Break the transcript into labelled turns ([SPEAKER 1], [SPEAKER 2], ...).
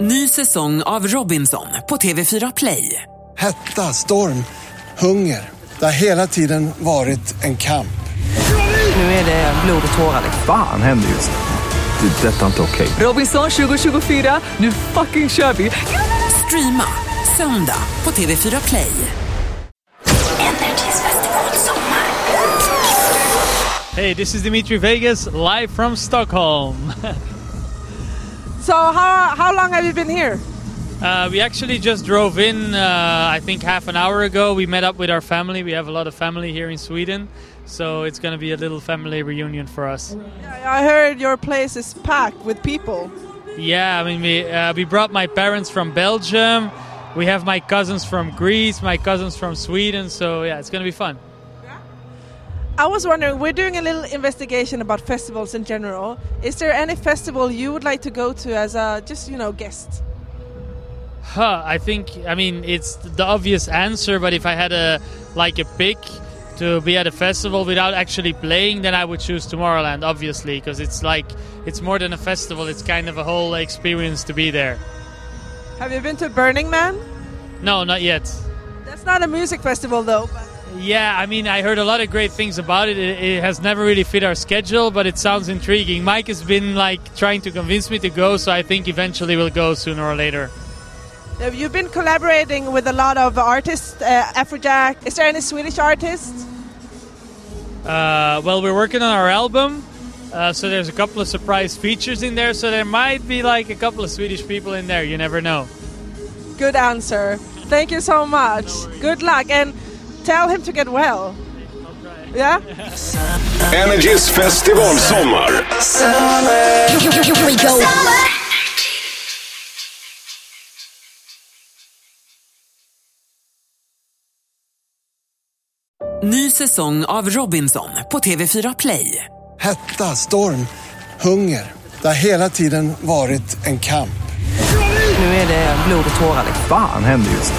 [SPEAKER 1] Ny säsong av Robinson på TV4 Play.
[SPEAKER 2] Hetta, storm, hunger. Det har hela tiden varit en kamp.
[SPEAKER 1] Nu är det blod och tårar.
[SPEAKER 3] Fan händer just nu. Det. är Detta är inte okej.
[SPEAKER 1] Robinson 2024, nu fucking kör vi! Streama söndag på TV4 Play.
[SPEAKER 4] Energys festival sommar.
[SPEAKER 5] Hey, this is Dimitri Vegas live from Stockholm.
[SPEAKER 6] So how how long have you been here?
[SPEAKER 5] Uh, we actually just drove in, uh, I think, half an hour ago. We met up with our family. We have a lot of family here in Sweden, so it's going to be a little family reunion for us.
[SPEAKER 6] I heard your place is packed with people.
[SPEAKER 5] Yeah, I mean, we, uh, we brought my parents from Belgium. We have my cousins from Greece, my cousins from Sweden, so yeah, it's going to be fun.
[SPEAKER 6] I was wondering, we're doing a little investigation about festivals in general. Is there any festival you would like to go to as a just you know guest?
[SPEAKER 5] Huh, I think I mean it's the obvious answer, but if I had a like a pick to be at a festival without actually playing, then I would choose Tomorrowland, obviously, because it's like it's more than a festival; it's kind of a whole experience to be there.
[SPEAKER 6] Have you been to Burning Man?
[SPEAKER 5] No, not yet.
[SPEAKER 6] That's not a music festival though. but-
[SPEAKER 5] Yeah, I mean, I heard a lot of great things about it. It, it has never really fit our schedule, but it sounds intriguing. Mike has been like trying to convince me to go, so I think eventually we'll go sooner or later.
[SPEAKER 6] Have you been collaborating with a lot of artists, uh, Afrojack? Is there any Swedish artists?
[SPEAKER 5] Uh, well, we're working on our album, uh, so there's a couple of surprise features in there. So there might be like a couple of Swedish people in there. You never know.
[SPEAKER 6] Good answer. Thank you so much. Good luck and tell him to get well. Yeah?
[SPEAKER 7] Energys festivalsommar.
[SPEAKER 4] Here we go. Summer.
[SPEAKER 1] Ny säsong av Robinson på TV4 Play.
[SPEAKER 2] Hetta, storm, hunger. Det har hela tiden varit en kamp.
[SPEAKER 1] Nu är det Eh, blod och tårar. liksom.
[SPEAKER 3] Fan händer just nu.